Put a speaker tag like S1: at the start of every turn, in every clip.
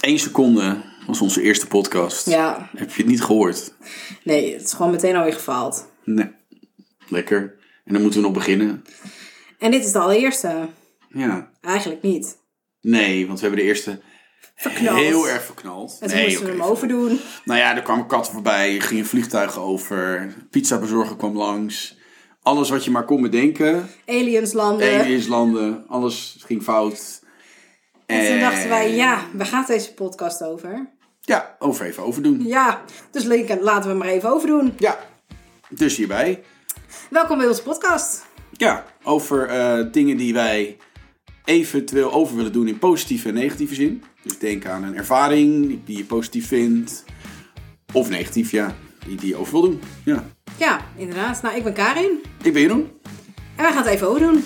S1: één seconde was onze eerste podcast.
S2: Ja,
S1: Heb je het niet gehoord?
S2: nee, het is gewoon meteen alweer gefaald.
S1: Nee. Lekker. En dan moeten we nog beginnen.
S2: En dit is de allereerste.
S1: Ja.
S2: Eigenlijk niet.
S1: Nee, want we hebben de eerste
S2: Verknald.
S1: heel erg verknald.
S2: En toen
S1: nee,
S2: moesten we
S1: oké.
S2: hem overdoen.
S1: Nou ja, er kwamen katten voorbij, gingen vliegtuigen over, pizzabezorger kwam langs. Alles wat je maar kon
S2: Eh.
S1: bedenken.
S2: Aliens landen.
S1: Aliens landen, alles ging fout.
S2: En toen dachten wij, ja, waar gaat deze podcast over?
S1: Ja, over even overdoen.
S2: Ja, dus Lincoln, laten we hem maar even overdoen.
S1: Ja, dus hierbij.
S2: Welkom bij onze podcast.
S1: Ja, over eh, dingen die wij eventueel over willen doen in positieve en negatieve zin. Dus denk aan een ervaring die je positief vindt. Of negatief, ja. Die, die je over wil doen. Ja.
S2: Ja, inderdaad. Nou, ik ben Karin.
S1: Ik ben Jeroen.
S2: En wij gaan het even overdoen.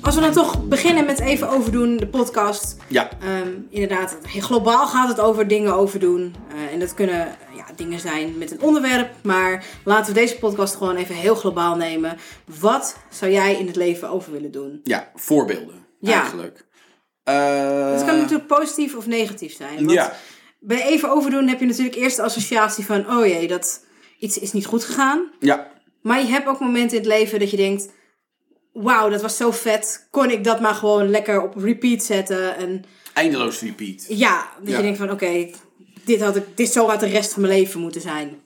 S2: Als we dan toch beginnen met even overdoen de podcast.
S1: Ja.
S2: Ehm, inderdaad, globaal gaat het over dingen overdoen. Eh, en dat kunnen ja, dingen zijn met een onderwerp. Maar laten we deze podcast gewoon even heel globaal nemen. Wat zou jij in het leven over willen doen?
S1: Ja, voorbeelden.
S2: Ja.
S1: Eigenlijk. Eh,
S2: Het kan natuurlijk positief of negatief zijn. Want
S1: Ja.
S2: Bij even overdoen heb je natuurlijk eerst de associatie van... oh jee, dat iets is niet goed gegaan.
S1: Ja.
S2: Maar je hebt ook momenten in het leven dat je denkt... wauw, dat was zo vet. Kon ik dat maar gewoon lekker op repeat zetten. En
S1: Eindeloos repeat.
S2: ja, dat
S1: Ja.
S2: je denkt van oké... dit had ik, dit zo had de rest van mijn leven moeten zijn.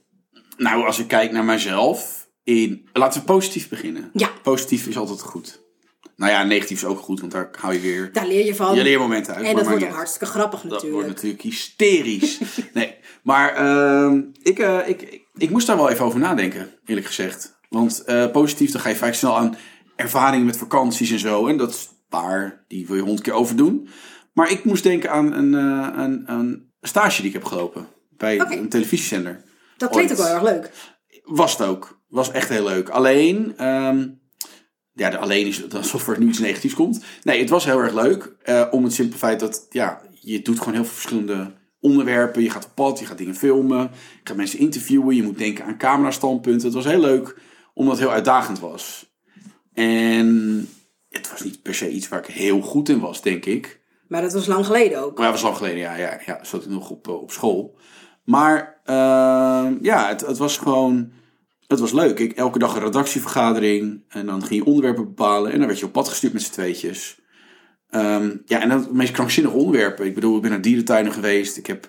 S1: Nou, als ik kijk naar mezelf. In... Laten we positief beginnen.
S2: Ja.
S1: Positief is altijd goed. Nou ja, negatief is ook goed, want daar hou je weer
S2: Daar leer je van.
S1: je leermomenten uit.
S2: en
S1: maar
S2: dat
S1: maakt
S2: wordt
S1: niet
S2: ook
S1: uit.
S2: hartstikke grappig natuurlijk.
S1: Dat wordt natuurlijk hysterisch. nee, maar ehm, ik, eh, ik, ik, ik moest daar wel even over nadenken, eerlijk gezegd. Want eh, positief, dan ga je vaak snel aan ervaringen met vakanties en zo. En dat is waar, die wil je honderd keer overdoen. Maar ik moest denken aan een, eh, een, een stage die ik heb gelopen bij
S2: Oké.
S1: een televisiezender.
S2: Dat klinkt ook
S1: ooit.
S2: wel heel erg leuk.
S1: Was het ook. Was echt heel leuk. Alleen, ehm, ja, de alleen is het alsof er nu iets negatiefs komt. Nee, het was heel erg leuk. eh, om het simpele feit dat, ja, je doet gewoon heel veel verschillende onderwerpen. Je gaat op pad, je gaat dingen filmen. Je gaat mensen interviewen. Je moet denken aan camerastandpunten. Het was heel leuk, omdat het heel uitdagend was. En het was niet per se iets waar ik heel goed in was, denk ik.
S2: Maar dat was lang geleden ook.
S1: Maar ja, was lang geleden, ja. Ja, ja zat ik nog op, eh, op school. Maar ehm, ja, het, het was gewoon... Het was leuk. Ik, elke dag een redactievergadering. En dan ging je onderwerpen bepalen. En dan werd je op pad gestuurd met z'n tweetjes. Ehm, ja, en dat de meest krankzinnige onderwerpen. Ik bedoel, ik ben naar dierentuinen geweest. Ik heb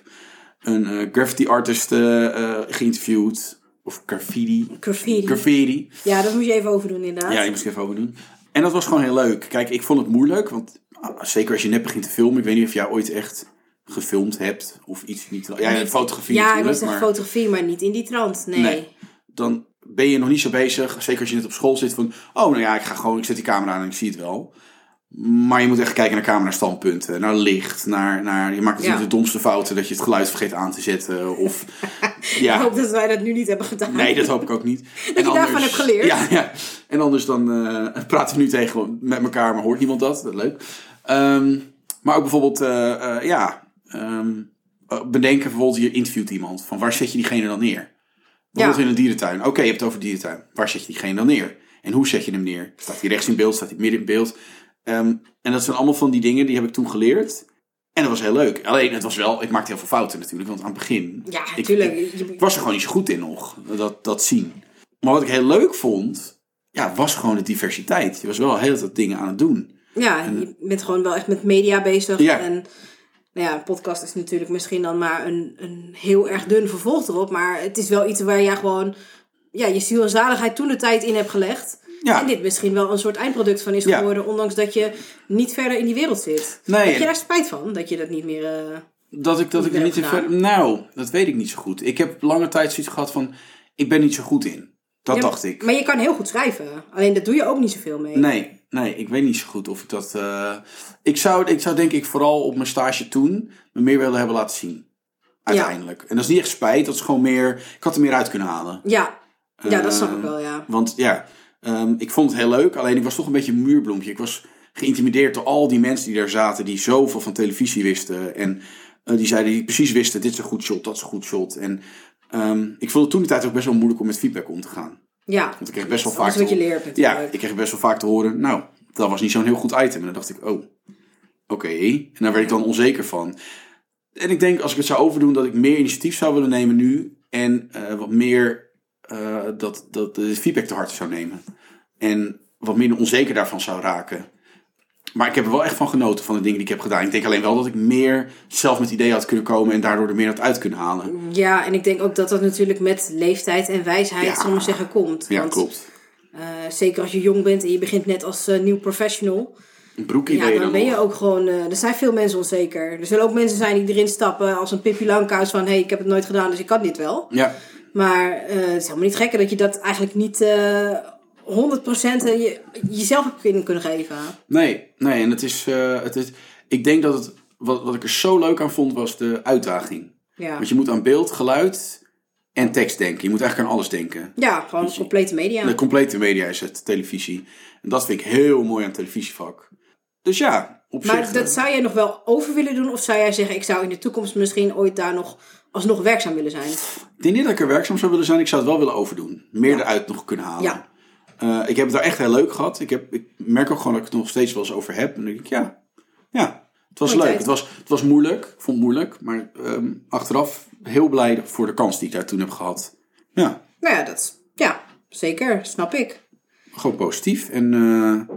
S1: een eh, graffiti artist eh, eh, geïnterviewd. Of graffiti.
S2: Graffiti.
S1: Graffiti.
S2: Ja, dat moet je even overdoen inderdaad.
S1: Ja, die moest ik even overdoen. En dat was gewoon heel leuk. Kijk, ik vond het moeilijk, want ah, zeker als je net begint te filmen, ik weet niet of jij ooit echt gefilmd hebt of iets niet. Ja, ja, fotografie
S2: ja, ik wil
S1: natuurlijk,
S2: zeggen
S1: maar
S2: fotografie, maar niet in die trant. Nee.
S1: Nee. dan ben je nog niet zo bezig, zeker als je net op school zit van, oh nou ja, ik ga gewoon, ik zet die camera aan en ik zie het wel. Maar je moet echt kijken naar camerastandpunten, naar licht, naar, naar je maakt natuurlijk
S2: Ja.
S1: de domste fouten dat je het geluid vergeet aan te zetten of
S2: Ik
S1: ja.
S2: hoop dat wij dat nu niet hebben gedaan.
S1: Nee, dat hoop ik ook niet. Dat
S2: je daarvan hebt geleerd.
S1: Ja, ja. En anders dan eh, praten we nu tegen met elkaar, maar hoort niemand dat. Dat is leuk. Ehm, maar ook bijvoorbeeld, eh, eh, ja, ehm, eh, bedenken bijvoorbeeld, je interviewt iemand. Van waar zet je diegene dan neer? Bijvoorbeeld in een dierentuin. Oké, je hebt het over dierentuin. Waar zet je diegene dan neer? En hoe zet je hem neer? Staat hij rechts in beeld? Staat hij midden in beeld? Ehm, en dat zijn allemaal van die dingen die heb ik toen geleerd. En dat was heel leuk. Alleen, het was wel, ik maakte heel veel fouten natuurlijk. Want aan het begin.
S2: Ja,
S1: ik-
S2: natuurlijk.
S1: ik- ik was er gewoon niet zo goed in nog, dat, dat zien. Maar wat ik heel leuk vond, ja, was gewoon de diversiteit. Je was wel heel wat dingen aan het doen.
S2: Ja, je bent gewoon wel echt met media bezig.
S1: eh, Ja.
S2: En nou ja, een podcast is natuurlijk misschien dan maar een, een heel erg dun vervolg erop. Maar het is wel iets waar jij gewoon ja, je ziel en zaligheid toen de tijd in hebt gelegd.
S1: Ja.
S2: En dit misschien wel een soort eindproduct van is
S1: Ja.
S2: geworden, ondanks dat je niet verder in die wereld zit.
S1: Nee.
S2: Heb je daar spijt van dat je dat niet meer. eh,
S1: Dat ik dat ik er
S2: heb
S1: niet in
S2: gedaan.
S1: ver... Nou, dat weet ik niet zo goed. Ik heb lange tijd zoiets gehad van, ik ben niet zo goed in. Dat
S2: ja,
S1: dacht ik.
S2: Maar je kan heel goed schrijven. Alleen dat doe je ook niet zoveel mee.
S1: Nee, nee, ik weet niet zo goed of ik dat... eh, Ik, zou, ik zou denk ik vooral op mijn stage toen me meer willen hebben laten zien. Uiteindelijk. En dat is niet echt spijt, dat is gewoon meer... Ik had er meer uit kunnen halen.
S2: Ja. ja, dat
S1: Eh,
S2: snap ik wel, ja.
S1: Want ja, Ehm, ik vond het heel leuk, alleen ik was toch een beetje een muurbloempje. Ik was geïntimideerd door al die mensen die daar zaten, die zoveel van televisie wisten. En eh, die zeiden, die precies wisten, dit is een goed shot, dat is een goed shot. En ehm, ik vond het toen de tijd ook best wel moeilijk om met feedback om te gaan.
S2: Ja.
S1: Want ik kreeg best wel
S2: Dat is
S1: vaak
S2: alles wat je
S1: te-
S2: leert natuurlijk.
S1: Ja, ik kreeg best wel vaak te horen, nou, dat was niet zo'n heel goed item. En dan dacht ik, oh, oké. En daar werd ik dan onzeker van. En ik denk, als ik het zou overdoen, dat ik meer initiatief zou willen nemen nu. En eh, wat meer eh, dat, dat de feedback te hard zou nemen. En wat minder onzeker daarvan zou raken. Maar ik heb er wel echt van genoten van de dingen die ik heb gedaan. Ik denk alleen wel dat ik meer zelf met ideeën had kunnen komen en daardoor er meer had uit kunnen halen.
S2: Ja, en ik denk ook dat dat natuurlijk met leeftijd en wijsheid,
S1: Ja.
S2: zullen we zeggen, komt.
S1: Ja,
S2: Want,
S1: klopt.
S2: eh, zeker als je jong bent en je begint net als eh, nieuw professional.
S1: Een broekje
S2: Ja,
S1: deed
S2: dan
S1: dan
S2: ben je
S1: nog.
S2: ook gewoon... eh, er zijn veel mensen onzeker. Er zullen ook mensen zijn die erin stappen als een Pippi Langkous van... hé, hey, ik heb het nooit gedaan, dus ik kan dit wel.
S1: Ja,
S2: Maar eh, het is helemaal niet gekker dat je dat eigenlijk niet... eh 100% je, jezelf hebt kunnen kunnen geven.
S1: Nee, nee, en het is, eh, het is. Ik denk dat het. Wat, wat ik er zo leuk aan vond, was de uitdaging.
S2: Ja,
S1: Want je moet aan beeld, geluid en tekst denken. Je moet eigenlijk aan alles denken.
S2: ja gewoon complete media.
S1: De complete media is het, televisie. En dat vind ik heel mooi aan het televisievak. Dus ja, op zich.
S2: Maar
S1: eh,
S2: dat zou jij nog wel over willen doen? Of zou jij zeggen, ik zou in de toekomst misschien ooit daar nog alsnog werkzaam willen zijn?
S1: Ik denk niet dat ik er werkzaam zou willen zijn. Ik zou het wel willen overdoen. Meer eruit nog kunnen halen.
S2: Ja.
S1: Eh, ik heb het daar echt heel leuk gehad. Ik, heb, ik merk ook gewoon dat ik het nog steeds wel eens over heb. En dan denk ik, ja, ja het was
S2: Mooie
S1: leuk.
S2: tijd.
S1: Het was, het was moeilijk. Ik vond het moeilijk. Maar ehm, achteraf heel blij voor de kans die ik daar toen heb gehad. Ja,
S2: Nou ja, dat, ja zeker. Snap ik.
S1: gewoon positief. En eh,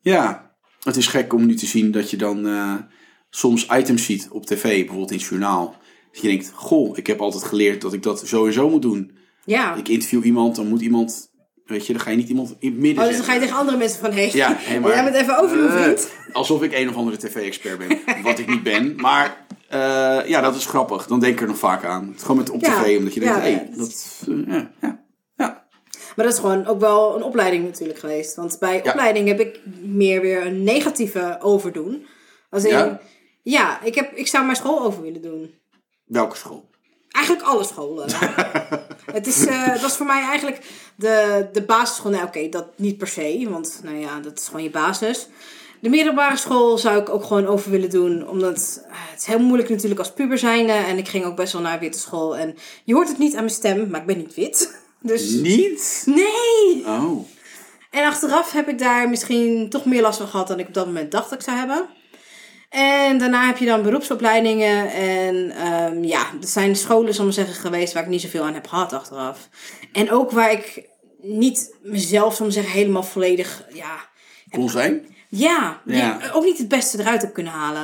S1: ja, het is gek om nu te zien dat je dan eh, soms items ziet op tv, bijvoorbeeld in het journaal. Dat je denkt, goh, ik heb altijd geleerd dat ik dat zo en zo moet doen.
S2: Ja.
S1: Ik interview iemand, dan moet iemand, weet je, dan ga je niet iemand in het midden
S2: Oh, dus
S1: zetten.
S2: dan ga je tegen andere mensen van, hé,
S1: Ja,
S2: hey,
S1: hé, maar-
S2: jij bent even over mijn
S1: Eh,
S2: vriend.
S1: Alsof ik een of andere tv-expert ben, wat ik niet ben. Maar eh, ja, dat is grappig. Dan denk ik er nog vaak aan. Gewoon met op
S2: Ja,
S1: tv, omdat je denkt,
S2: ja,
S1: hé,
S2: ja.
S1: dat... eh, ja, ja, ja.
S2: Maar dat is gewoon ook wel een opleiding natuurlijk geweest. Want bij opleiding heb ik meer weer een negatieve overdoen. Als in, ja,
S1: Ja?
S2: ik, heb, ik zou mijn school over willen doen.
S1: Welke school?
S2: Eigenlijk alle scholen. het, is, eh, het was voor mij eigenlijk de, de basisschool. Nou, oké, dat niet per se, want nou ja, dat is gewoon je basis. De middelbare school zou ik ook gewoon over willen doen, omdat eh, het is heel moeilijk natuurlijk als puber zijnde. En ik ging ook best wel naar witte school. En je hoort het niet aan mijn stem, maar ik ben niet wit. Dus
S1: Niet?
S2: nee!
S1: Oh,
S2: En achteraf heb ik daar misschien toch meer last van gehad dan ik op dat moment dacht dat ik zou hebben. En daarna heb je dan beroepsopleidingen. En ehm, ja, er zijn scholen, zal ik maar zeggen, geweest waar ik niet zoveel aan heb gehad achteraf. En ook waar ik niet mezelf, zal ik maar zeggen, helemaal volledig, ja,
S1: kon zijn?
S2: ja,
S1: Ja.
S2: die- ook niet het beste eruit heb kunnen halen.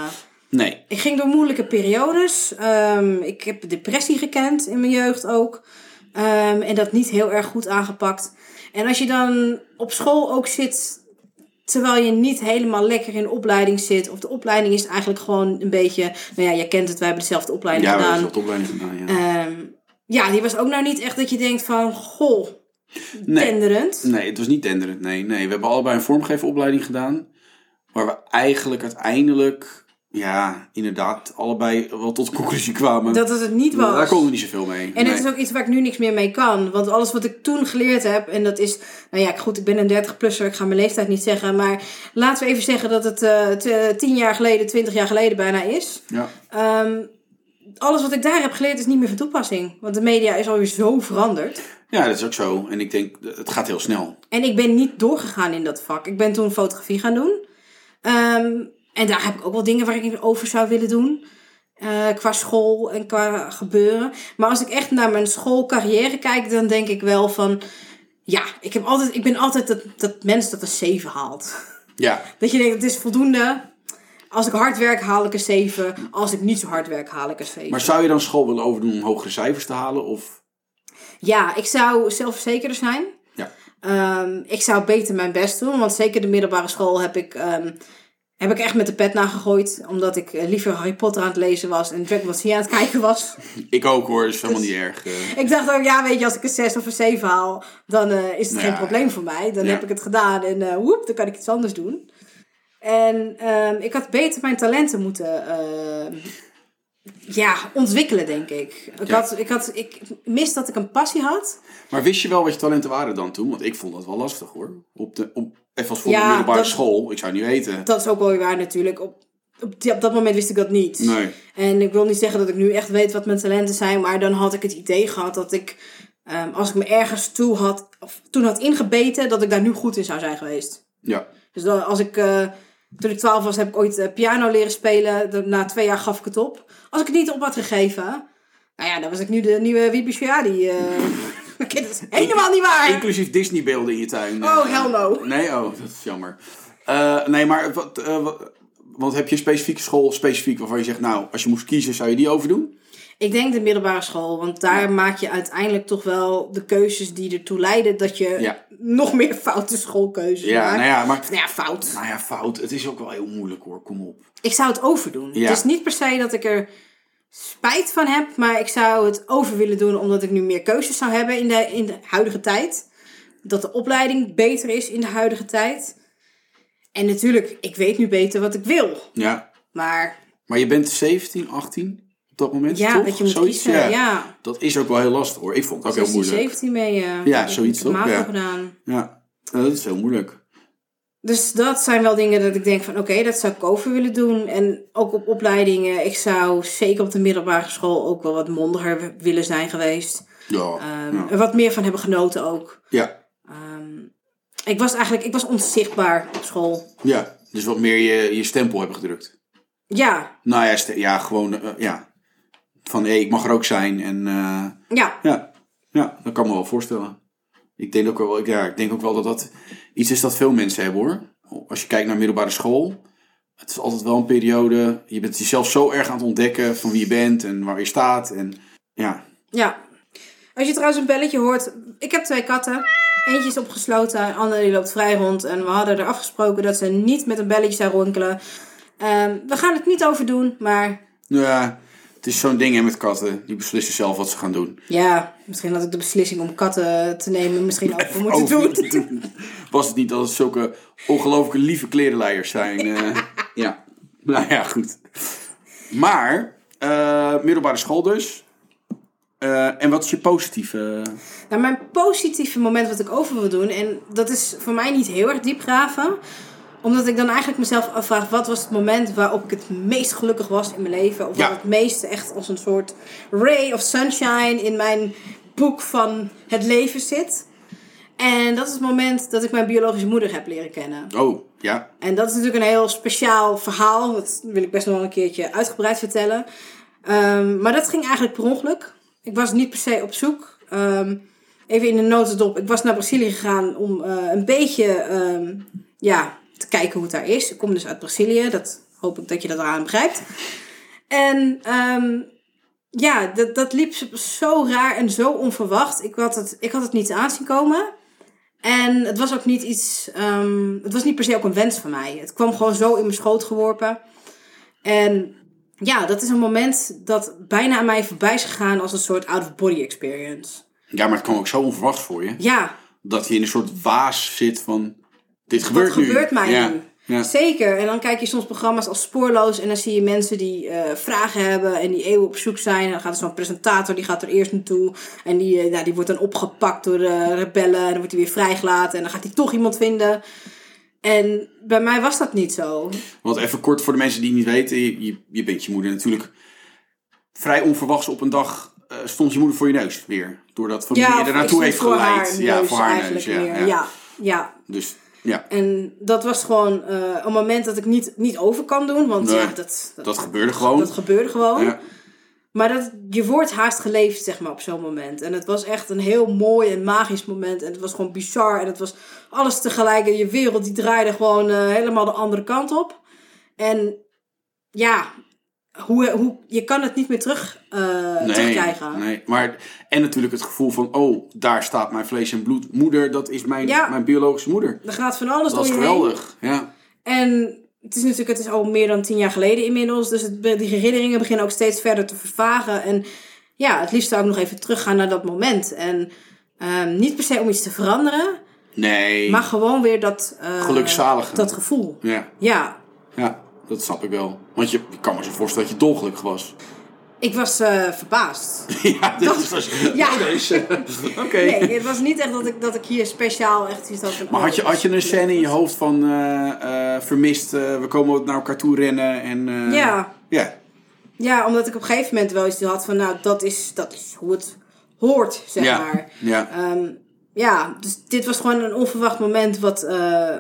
S1: Nee.
S2: Ik ging door moeilijke periodes. Ehm, ik heb depressie gekend in mijn jeugd ook. Ehm, en dat niet heel erg goed aangepakt. En als je dan op school ook zit, terwijl je niet helemaal lekker in de opleiding zit. Of de opleiding is eigenlijk gewoon een beetje. Nou ja, jij kent het, wij hebben dezelfde opleiding
S1: Ja, we hebben
S2: gedaan.
S1: dat opleiding gedaan, ja.
S2: Ehm, ja, die was ook nou niet echt dat je denkt van, goh,
S1: Nee.
S2: tenderend.
S1: Nee, het was niet denderend. Nee, nee. We hebben allebei een vormgeveropleiding gedaan. Waar we eigenlijk uiteindelijk, ja, inderdaad, allebei wel tot de conclusie kwamen.
S2: Dat het het niet was.
S1: Daar konden we niet zoveel mee.
S2: En
S1: nee.
S2: het is ook iets waar ik nu niks meer mee kan. Want alles wat ik toen geleerd heb, en dat is, nou ja, goed, ik ben een 30-plusser, ik ga mijn leeftijd niet zeggen. Maar laten we even zeggen dat het eh, t- eh, 10 jaar geleden, 20 jaar geleden bijna is.
S1: Ja.
S2: Ehm, alles wat ik daar heb geleerd is niet meer van toepassing. Want de media is alweer zo veranderd.
S1: ja, dat is ook zo. En ik denk, het gaat heel snel.
S2: En ik ben niet doorgegaan in dat vak. Ik ben toen fotografie gaan doen. Ehm, en daar heb ik ook wel dingen waar ik over zou willen doen. Eh, qua school en qua gebeuren. Maar als ik echt naar mijn schoolcarrière kijk, dan denk ik wel van. Ja, ik, heb altijd, ik ben altijd dat, dat mens dat een 7 haalt.
S1: Ja,
S2: Dat je denkt, het is voldoende. Als ik hard werk, haal ik een 7. Als ik niet zo hard werk, haal ik een 7.
S1: maar zou je dan school willen overdoen om hogere cijfers te halen? Of...
S2: Ja, ik zou zelfverzekerder zijn.
S1: Ja.
S2: Ehm, ik zou beter mijn best doen, want zeker de middelbare school heb ik, ehm, heb ik echt met de pet nagegooid. Omdat ik eh, liever Harry Potter aan het lezen was en Dragon Ball Z aan het kijken was.
S1: Ik ook hoor, is helemaal niet erg. eh.
S2: ik dacht ook, ja weet je, als ik een 6 of een 7 haal, dan eh, is het
S1: Nou
S2: geen
S1: ja,
S2: probleem voor mij. Dan
S1: Ja.
S2: heb ik het gedaan en eh, woep, dan kan ik iets anders doen. En ehm, ik had beter mijn talenten moeten eh, ja, ontwikkelen, denk ik. Ik,
S1: Ja.
S2: had, ik, had, ik mis dat ik een passie had.
S1: Maar wist je wel wat je talenten waren dan toen? Want ik vond dat wel lastig hoor. Op de, op, even als voor
S2: Ja,
S1: de middelbare
S2: dat-
S1: school. Ik zou niet weten.
S2: Dat is ook wel weer waar natuurlijk. Op, op, die- op dat moment wist ik dat niet.
S1: Nee.
S2: En ik wil niet zeggen dat ik nu echt weet wat mijn talenten zijn, maar dan had ik het idee gehad dat ik, ehm, als ik me ergens toe had, of toen had ingebeten, dat ik daar nu goed in zou zijn geweest.
S1: Ja.
S2: Dus dan, als ik, eh, toen ik 12 was, heb ik ooit eh, piano leren spelen. Da- Na twee jaar gaf ik het op. Als ik het niet op had gegeven, nou ja, dan was ik nu de nieuwe Wiebe Sciardi. eh. dat is helemaal niet waar.
S1: Inclusief Disney-beelden in je tuin.
S2: Ah, Oh,
S1: Eh,
S2: hell no.
S1: Nee, oh, dat is jammer. Eh, nee, maar wat, eh, wat, want heb je een specifieke school specifiek waarvan je zegt, nou, als je moest kiezen, zou je die overdoen?
S2: Ik denk de middelbare school, want daar maak je uiteindelijk toch wel de keuzes die ertoe leiden dat je
S1: Ja.
S2: nog meer foute schoolkeuzes
S1: Ja,
S2: maakt.
S1: nou ja, maar.
S2: Nou ja, fout.
S1: Nou ja, fout. Het is ook wel heel moeilijk hoor, kom op.
S2: Ik zou het overdoen.
S1: Ja.
S2: Het is niet per se dat ik er spijt van heb, maar ik zou het over willen doen omdat ik nu meer keuzes zou hebben in de, in de huidige tijd. Dat de opleiding beter is in de huidige tijd. En natuurlijk, ik weet nu beter wat ik wil.
S1: Ja.
S2: Maar
S1: Maar je bent 17, 18 op dat moment,
S2: ja,
S1: toch?
S2: dat je moet
S1: Zoiets,
S2: kiezen. Ja, ja.
S1: Dat is ook wel heel lastig hoor. Ik vond het ook heel
S2: 16,
S1: moeilijk.
S2: 17 mee. eh,
S1: Ja,
S2: heb ik
S1: zoiets
S2: de
S1: toch?
S2: MAVO
S1: Ja.
S2: gedaan.
S1: Ja, Nou, dat is heel moeilijk.
S2: Dus dat zijn wel dingen dat ik denk van oké, dat zou ik over willen doen. En ook op opleidingen. Ik zou zeker op de middelbare school ook wel wat mondiger willen zijn geweest.
S1: Ja.
S2: Ehm,
S1: ja.
S2: Er wat meer van hebben genoten ook.
S1: ja.
S2: Ehm, ik was eigenlijk ik was onzichtbaar op school.
S1: Ja. Dus wat meer je, je stempel hebben gedrukt.
S2: Ja,
S1: Nou ja, ste- ja gewoon, eh, ja. Van, hé, ik mag er ook zijn. En eh,
S2: ja.
S1: ja. ja, dat kan me wel voorstellen. Ik denk, ook wel, ja, ik denk ook wel dat dat iets is dat veel mensen hebben hoor. Als je kijkt naar middelbare school. Het is altijd wel een periode. Je bent jezelf zo erg aan het ontdekken van wie je bent en waar je staat. En ja,
S2: ja. Als je trouwens een belletje hoort. Ik heb twee katten. Eentje is opgesloten, de andere die loopt vrij rond. En we hadden er afgesproken dat ze niet met een belletje zou ronkelen. Ehm, we gaan het niet over doen, maar
S1: Nou ja het is zo'n ding hè, met katten. Die beslissen zelf wat ze gaan doen.
S2: ja, misschien had ik de beslissing om katten te nemen misschien over moeten
S1: Over
S2: doen.
S1: moeten doen. Was het niet dat het zulke ongelooflijke lieve klerenleiers zijn? eh, ja. Nou ja, goed. Maar, eh, middelbare school dus. Eh, en wat is je positieve?
S2: Nou, mijn positieve moment wat ik over wil doen, en dat is voor mij niet heel erg diep graven, omdat ik dan eigenlijk mezelf afvraag: wat was het moment waarop ik het meest gelukkig was in mijn leven? Of
S1: Ja.
S2: wat het meest echt als een soort ray of sunshine in mijn boek van het leven zit. En dat is het moment dat ik mijn biologische moeder heb leren kennen.
S1: Oh, ja.
S2: En dat is natuurlijk een heel speciaal verhaal. Dat wil ik best nog wel een keertje uitgebreid vertellen. Ehm, maar dat ging eigenlijk per ongeluk. Ik was niet per se op zoek. Ehm, even in de notendop. Ik was naar Brazilië gegaan om eh, een beetje ehm, ja, te kijken hoe het daar is. Ik kom dus uit Brazilië. Dat hoop ik dat je dat eraan begrijpt. En ehm, ja, dat, dat liep zo raar en zo onverwacht. Ik had het, ik had het niet aanzien komen. En het was ook niet iets. ehm, het was niet per se ook een wens van mij. Het kwam gewoon zo in mijn schoot geworpen. En ja, dat is een moment dat bijna aan mij voorbij is gegaan als een soort out-of-body experience.
S1: Ja, maar het kwam ook zo onverwacht voor je.
S2: Ja,
S1: Dat je in een soort waas zit van... Dit gebeurt
S2: wat
S1: nu.
S2: gebeurt mij
S1: ja.
S2: nu?
S1: Ja.
S2: Zeker. En dan kijk je soms programma's als Spoorloos en dan zie je mensen die eh, vragen hebben en die eeuwen op zoek zijn. En dan gaat er zo'n presentator, die gaat er eerst naartoe en die, eh, nou, die wordt dan opgepakt door eh, rebellen en dan wordt hij weer vrijgelaten en dan gaat hij toch iemand vinden. En bij mij was dat niet zo.
S1: Want even kort voor de mensen die het niet weten. Je, je, je bent je moeder natuurlijk vrij onverwachts op een dag... eh, stond je moeder voor je neus weer. Doordat familie je
S2: of
S1: er
S2: ik
S1: naartoe
S2: stond
S1: heeft
S2: voor
S1: geleid.
S2: haar
S1: ja, voor haar neus.
S2: eigenlijk
S1: Ja,
S2: meer.
S1: ja.
S2: ja, ja.
S1: Dus ja,
S2: En dat was gewoon eh, een moment dat ik niet, niet over kan doen, want
S1: Nee,
S2: ja, dat, dat,
S1: dat gebeurde gewoon.
S2: dat gebeurde gewoon.
S1: Ja.
S2: Maar dat, je wordt haast geleefd, zeg maar, op zo'n moment. En het was echt een heel mooi en magisch moment. En het was gewoon bizar. En het was alles tegelijk. En je wereld die draaide gewoon eh, helemaal de andere kant op. En ja, hoe, hoe, je kan het niet meer terug, eh, terugkrijgen.
S1: Nee, maar, en natuurlijk het gevoel van, oh, daar staat mijn vlees en bloed. Moeder, dat is mijn,
S2: Ja.
S1: mijn biologische moeder.
S2: Er gaat van alles
S1: Dat is
S2: door je heen.
S1: geweldig. Ja.
S2: En het is natuurlijk het is al meer dan tien jaar geleden inmiddels. Dus het, die herinneringen beginnen ook steeds verder te vervagen. En ja, het liefst zou ik nog even teruggaan naar dat moment. En ehm, niet per se om iets te veranderen.
S1: Nee.
S2: Maar gewoon weer dat... eh,
S1: Gelukzalige.
S2: Dat gevoel.
S1: Ja,
S2: Ja.
S1: ja, dat snap ik wel. Want je, ik kan me zo voorstellen dat je dolgelukkig was.
S2: Ik was eh, verbaasd.
S1: ja, dit is als...
S2: Ja.
S1: Oh, deze. Oké.
S2: Nee, het was niet echt dat ik, dat ik hier speciaal echt iets had van...
S1: Maar
S2: oh,
S1: had je, had je een
S2: leuk.
S1: scène in je hoofd van eh, eh, vermist, eh, we komen naar elkaar toe rennen en... eh,
S2: Ja.
S1: Ja.
S2: Ja, omdat ik op een gegeven moment wel iets had van... Nou, dat is, dat is hoe het hoort, zeg
S1: ja.
S2: maar.
S1: Ja.
S2: Ehm, ja, dus dit was gewoon een onverwacht moment wat eh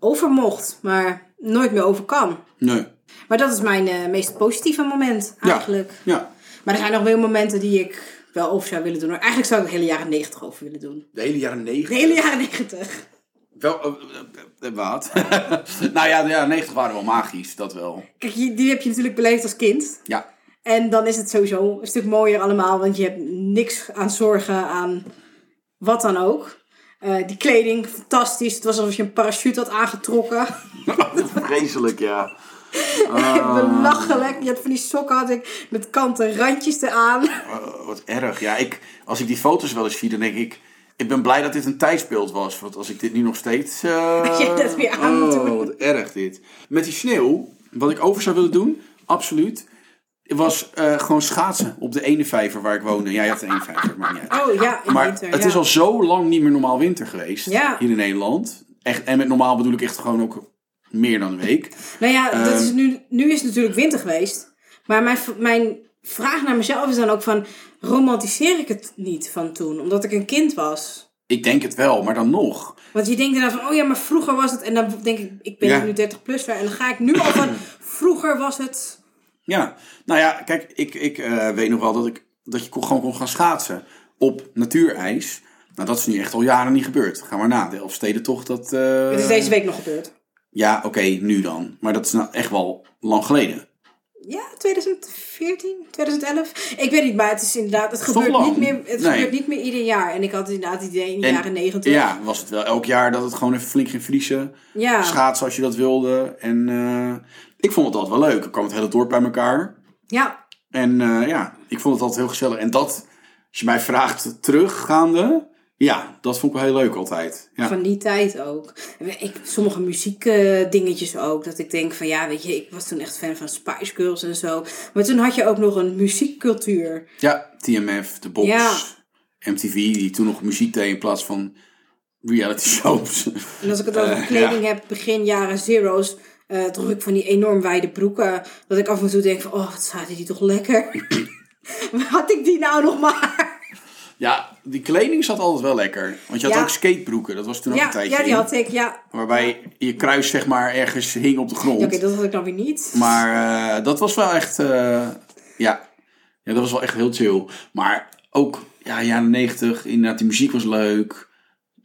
S2: over mocht. Maar nooit meer over kan.
S1: Nee.
S2: Maar dat is mijn eh, meest positieve moment eigenlijk.
S1: Ja.
S2: Maar er zijn nog wel momenten die ik wel over zou willen doen. Maar eigenlijk zou ik de hele jaren 90 over willen doen.
S1: De hele jaren
S2: De
S1: negentig.
S2: hele jaren 90.
S1: Wel, eh, eh, eh, wat? nou ja, de jaren negentig waren wel magisch, dat wel.
S2: Kijk, je- die heb je natuurlijk beleefd als kind.
S1: Ja.
S2: En dan is het sowieso een stuk mooier allemaal. Want je hebt niks aan zorgen aan wat dan ook. Eh, die kleding, fantastisch. Het was alsof je een parachute had aangetrokken.
S1: Vreselijk, ja.
S2: Belachelijk. Je had van die sokken had ik met kanten randjes eraan.
S1: Eh, wat erg. Ja, ik, als ik die foto's wel eens zie, dan denk ik... Ik ben blij dat dit een tijdsbeeld was. Want als ik dit nu nog steeds... eh,
S2: Als jij dat weer aan moet
S1: oh,
S2: doen.
S1: wat erg dit. Met die sneeuw, wat ik over zou willen doen, absoluut... was eh, gewoon schaatsen op de ene vijver waar ik woonde. Ja, je had de ene vijver, maakt niet uit.
S2: Oh ja, in
S1: Maar
S2: winter.
S1: het
S2: ja.
S1: is al zo lang niet meer normaal winter geweest
S2: Ja.
S1: hier in Nederland. Echt, en met normaal bedoel ik echt gewoon ook meer dan een week.
S2: Nou ja, dat is
S1: Ehm.
S2: nu, nu is het natuurlijk winter geweest. Maar mijn, v- mijn vraag naar mezelf is dan ook van... Romantiseer ik het niet van toen? Omdat ik een kind was.
S1: Ik denk het wel, maar dan nog.
S2: Want je denkt inderdaad van... Oh ja, maar vroeger was het... En dan denk ik, ik ben
S1: Ja.
S2: nu 30 plus. En dan ga ik nu al van... Vroeger was het...
S1: Ja, nou ja, kijk, ik, ik eh, weet nog wel dat, ik, dat je kon- gewoon kon gaan schaatsen op natuurijs. Nou, dat is nu echt al jaren niet gebeurd. Ga maar na, de Elfstedentocht, dat... eh,
S2: Het is deze week nog gebeurd.
S1: Ja, oké, nu dan. Maar dat is nou echt wel lang geleden.
S2: Ja, 2014, 2011. Ik weet niet, maar het is inderdaad... Het
S1: toch
S2: gebeurt
S1: lang?
S2: niet meer, het
S1: Nee.
S2: gebeurt niet meer ieder jaar. En ik had inderdaad het idee in de
S1: En-
S2: jaren 90.
S1: Ja, was het wel elk jaar dat het gewoon even flink ging vriezen.
S2: Ja.
S1: Schaatsen als je dat wilde. En eh, ik vond het altijd wel leuk. Er kwam het hele dorp bij elkaar.
S2: ja.
S1: En eh, ja, ik vond het altijd heel gezellig. En dat, als je mij vraagt teruggaande, ja, dat vond ik wel heel leuk altijd. Ja,
S2: Van die tijd ook. Ik, sommige muziekdingetjes ook. Dat ik denk van ja, weet je, ik was toen echt fan van Spice Girls en zo. Maar toen had je ook nog een muziekcultuur.
S1: ja TMF, de box,
S2: Ja.
S1: MTV, die toen nog muziek deed in plaats van reality shows.
S2: En als ik het over
S1: Eh,
S2: kleding heb, begin jaren zero's. eh droeg ik van die enorm wijde broeken. Dat ik af en toe denk van oh, wat zaten die toch lekker. Maar Had ik die nou nog maar?
S1: ja, die kleding zat altijd wel lekker. Want je had
S2: Ja.
S1: ook skatebroeken, dat was toen ook een
S2: Ja,
S1: tijdje
S2: ja die
S1: in.
S2: had ik. Ja.
S1: Waarbij je kruis zeg maar ergens hing op de grond.
S2: Oké, dat had ik dan weer niet.
S1: Maar eh, dat was wel echt. eh, ja. ja, dat was wel echt heel chill. Maar ook, ja, jaren negentig, inderdaad, die muziek was leuk.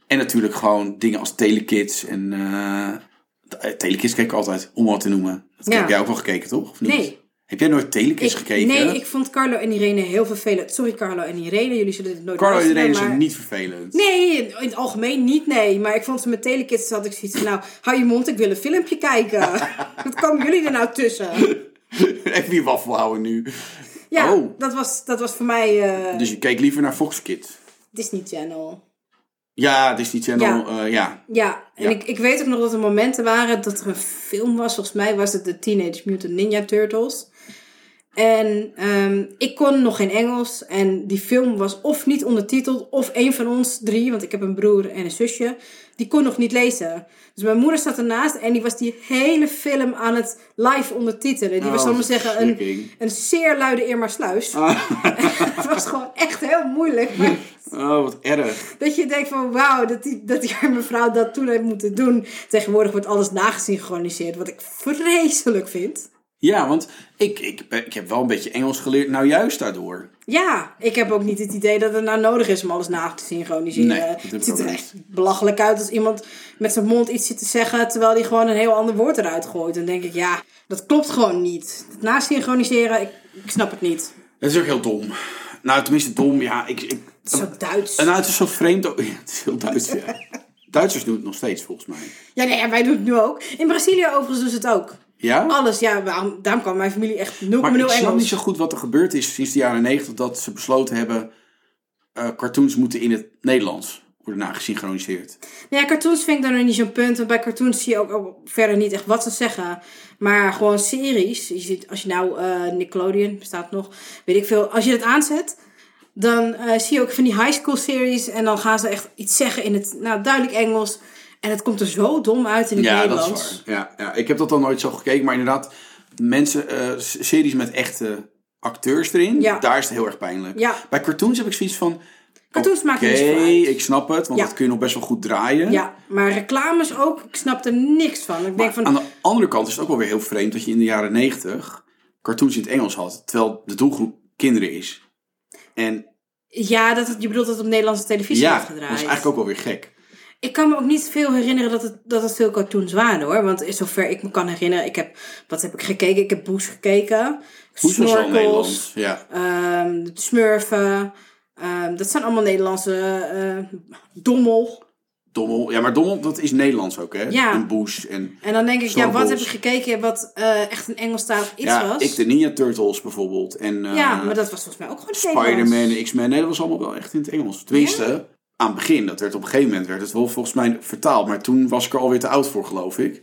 S1: En natuurlijk gewoon dingen als Telekids en. eh, eh, Telekids keek ik altijd, om wat te noemen. Dat
S2: Ja.
S1: heb jij ook wel gekeken, toch? Of niet?
S2: Nee.
S1: Heb jij nooit Telekids
S2: Ik-
S1: gekeken?
S2: Nee, ik vond Carlo en Irene heel vervelend. Sorry Carlo en Irene, jullie zullen dit nooit
S1: Carlo en
S2: luisteren,
S1: Irene zijn
S2: maar-
S1: niet vervelend.
S2: Nee, in in het algemeen niet, nee. Maar ik vond ze met telekids, had ik zoiets van... Nou, hou je mond, ik wil een filmpje kijken. Wat komen jullie er nou tussen?
S1: Even die waffel houden nu.
S2: Ja,
S1: Oh.
S2: dat, was, dat was voor mij eh,
S1: Dus je keek liever naar Fox Kids.
S2: Disney Channel.
S1: Ja, Disney Channel, ja. ja.
S2: Ja, en
S1: Ja.
S2: Ik, ik weet ook nog dat er momenten waren dat er een film was. Volgens mij was het de Teenage Mutant Ninja Turtles. En ehm, ik kon nog geen Engels. En die film was of niet ondertiteld, of een van ons drie, want ik heb een broer en een zusje, die kon nog niet lezen. Dus mijn moeder zat ernaast en die was die hele film aan het live ondertitelen. Die was,
S1: Oh,
S2: zal ik maar zeggen, een,
S1: verschrikking.
S2: een zeer luide Irma Sluis.
S1: Ah.
S2: het was gewoon echt heel moeilijk. Maar
S1: Oh, wat erg.
S2: dat je denkt van wauw, dat die, dat die arme vrouw dat toen heeft moeten doen. Tegenwoordig wordt alles nagesynchroniseerd, wat ik vreselijk vind.
S1: Ja, want ik, ik, ben- ik heb wel een beetje Engels geleerd. Nou, juist daardoor.
S2: Ja, ik heb ook niet het idee dat het nou nodig is om alles na te synchroniseren.
S1: Nee, dat heb ik
S2: het ziet
S1: ook
S2: er
S1: niet.
S2: echt belachelijk uit als iemand met zijn mond iets zit te zeggen... terwijl hij gewoon een heel ander woord eruit gooit. Dan denk ik, ja, dat klopt gewoon niet. Het nasynchroniseren, ik, ik snap het niet.
S1: Dat is ook heel dom. Nou, tenminste dom, ja. Ik, ik,
S2: Het is zo Duits.
S1: en nou, het is zo vreemd ook. Ja, het is heel Duits, ja. Duitsers doen het nog steeds, volgens mij.
S2: Ja, nee, ja, wij doen het nu ook. In Brazilië overigens doen ze het ook.
S1: Ja?
S2: Alles, ja, waarom, daarom kwam mijn familie echt 0,0
S1: Maar ik snap niet
S2: Oh, Engels.
S1: zo goed wat er gebeurd is sinds de jaren negentig... dat ze besloten hebben... eh, cartoons moeten in het Nederlands. worden nagesynchroniseerd.
S2: Nou ja, cartoons vind ik dan nog niet zo'n punt. Want bij cartoons zie je ook, ook verder niet echt wat ze zeggen. Maar gewoon series. Je ziet, als je nou eh, Nickelodeon bestaat nog, weet ik veel. Als je dat aanzet, dan eh, zie je ook van die high school series. En dan gaan ze echt iets zeggen in het nou, duidelijk Engels. En het komt er zo dom uit in het
S1: Ja, dat
S2: Nederlands.
S1: is waar. Ja, ja, ik heb dat dan nooit zo gekeken, maar inderdaad, mensen, eh, s- series met echte acteurs erin,
S2: Ja.
S1: daar is het heel erg pijnlijk.
S2: Ja.
S1: Bij cartoons heb ik zoiets van.
S2: Cartoons maken niet
S1: oké,
S2: zo uit.
S1: ik snap het, want
S2: Ja.
S1: dat kun je nog best wel goed draaien.
S2: Ja, maar reclames ook. Ik snap er niks van. Ik denk van,
S1: Aan de andere kant is het ook wel weer heel vreemd dat je in de jaren negentig cartoons in het Engels had, terwijl de doelgroep kinderen is. En
S2: ja, dat het, je bedoelt dat het op Nederlandse televisie
S1: ja,
S2: wordt
S1: dat is
S2: gedraaid.
S1: eigenlijk ook wel weer gek.
S2: Ik kan me ook niet veel herinneren dat het, dat het veel cartoons waren hoor. Want zover ik me kan herinneren, ik heb, wat heb ik gekeken? Ik heb Boes gekeken.
S1: Hoe is dat zo in
S2: Snorkels.
S1: Nederlands? Ja.
S2: ehm, de Smurfen. ehm, dat zijn allemaal Nederlandse eh, dommel.
S1: Dommel. Ja, maar Dommel, dat is Nederlands ook, hè?
S2: Ja.
S1: En Boes en...
S2: En dan denk ik, ja, wat
S1: Snorkels.
S2: heb ik gekeken wat eh, echt een Engelstalig iets
S1: ja,
S2: was?
S1: ik de Ninja Turtles bijvoorbeeld. En eh,
S2: ja, maar dat was volgens mij ook gewoon Nederlands.
S1: Spider-Man en X-Men. Nee, dat was allemaal wel echt in het Engels. Tenminste, aan het begin. Dat werd op een gegeven moment werd het wel volgens mij vertaald. Maar toen was ik er alweer te oud voor, geloof ik.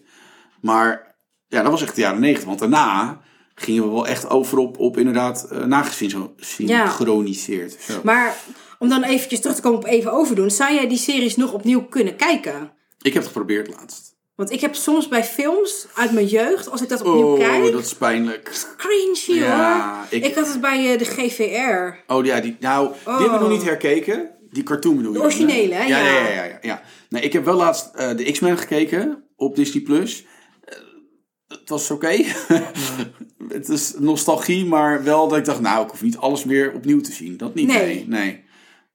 S1: Maar ja, dat was echt de jaren negentig. Want daarna gingen we wel echt over op, op inderdaad eh nagesynchroniseerd. Zo.
S2: Maar om dan eventjes terug te komen op even overdoen. Zou jij die series nog opnieuw kunnen kijken?
S1: Ik heb het geprobeerd laatst.
S2: Want ik heb soms bij films uit mijn jeugd, als ik dat opnieuw
S1: Oh,
S2: kijk...
S1: dat is pijnlijk.
S2: cringy
S1: Ja,
S2: hoor.
S1: ik-
S2: Ik... had het bij eh, de GVR.
S1: Oh ja, die, nou, die hebben we nog niet herkeken. Die cartoon bedoel je?
S2: Oh. De
S1: dan, hè?
S2: originele, hè?
S1: Ja, ja,
S2: Ja.
S1: ja. ja, ja, ja. Nee, ik heb wel laatst eh, de X-Men gekeken op Disney+. Plus. Eh, het was oké. het is nostalgie, maar wel dat ik dacht, nou, ik hoef niet alles weer opnieuw te zien. Dat niet, nee.
S2: Nee.
S1: nee,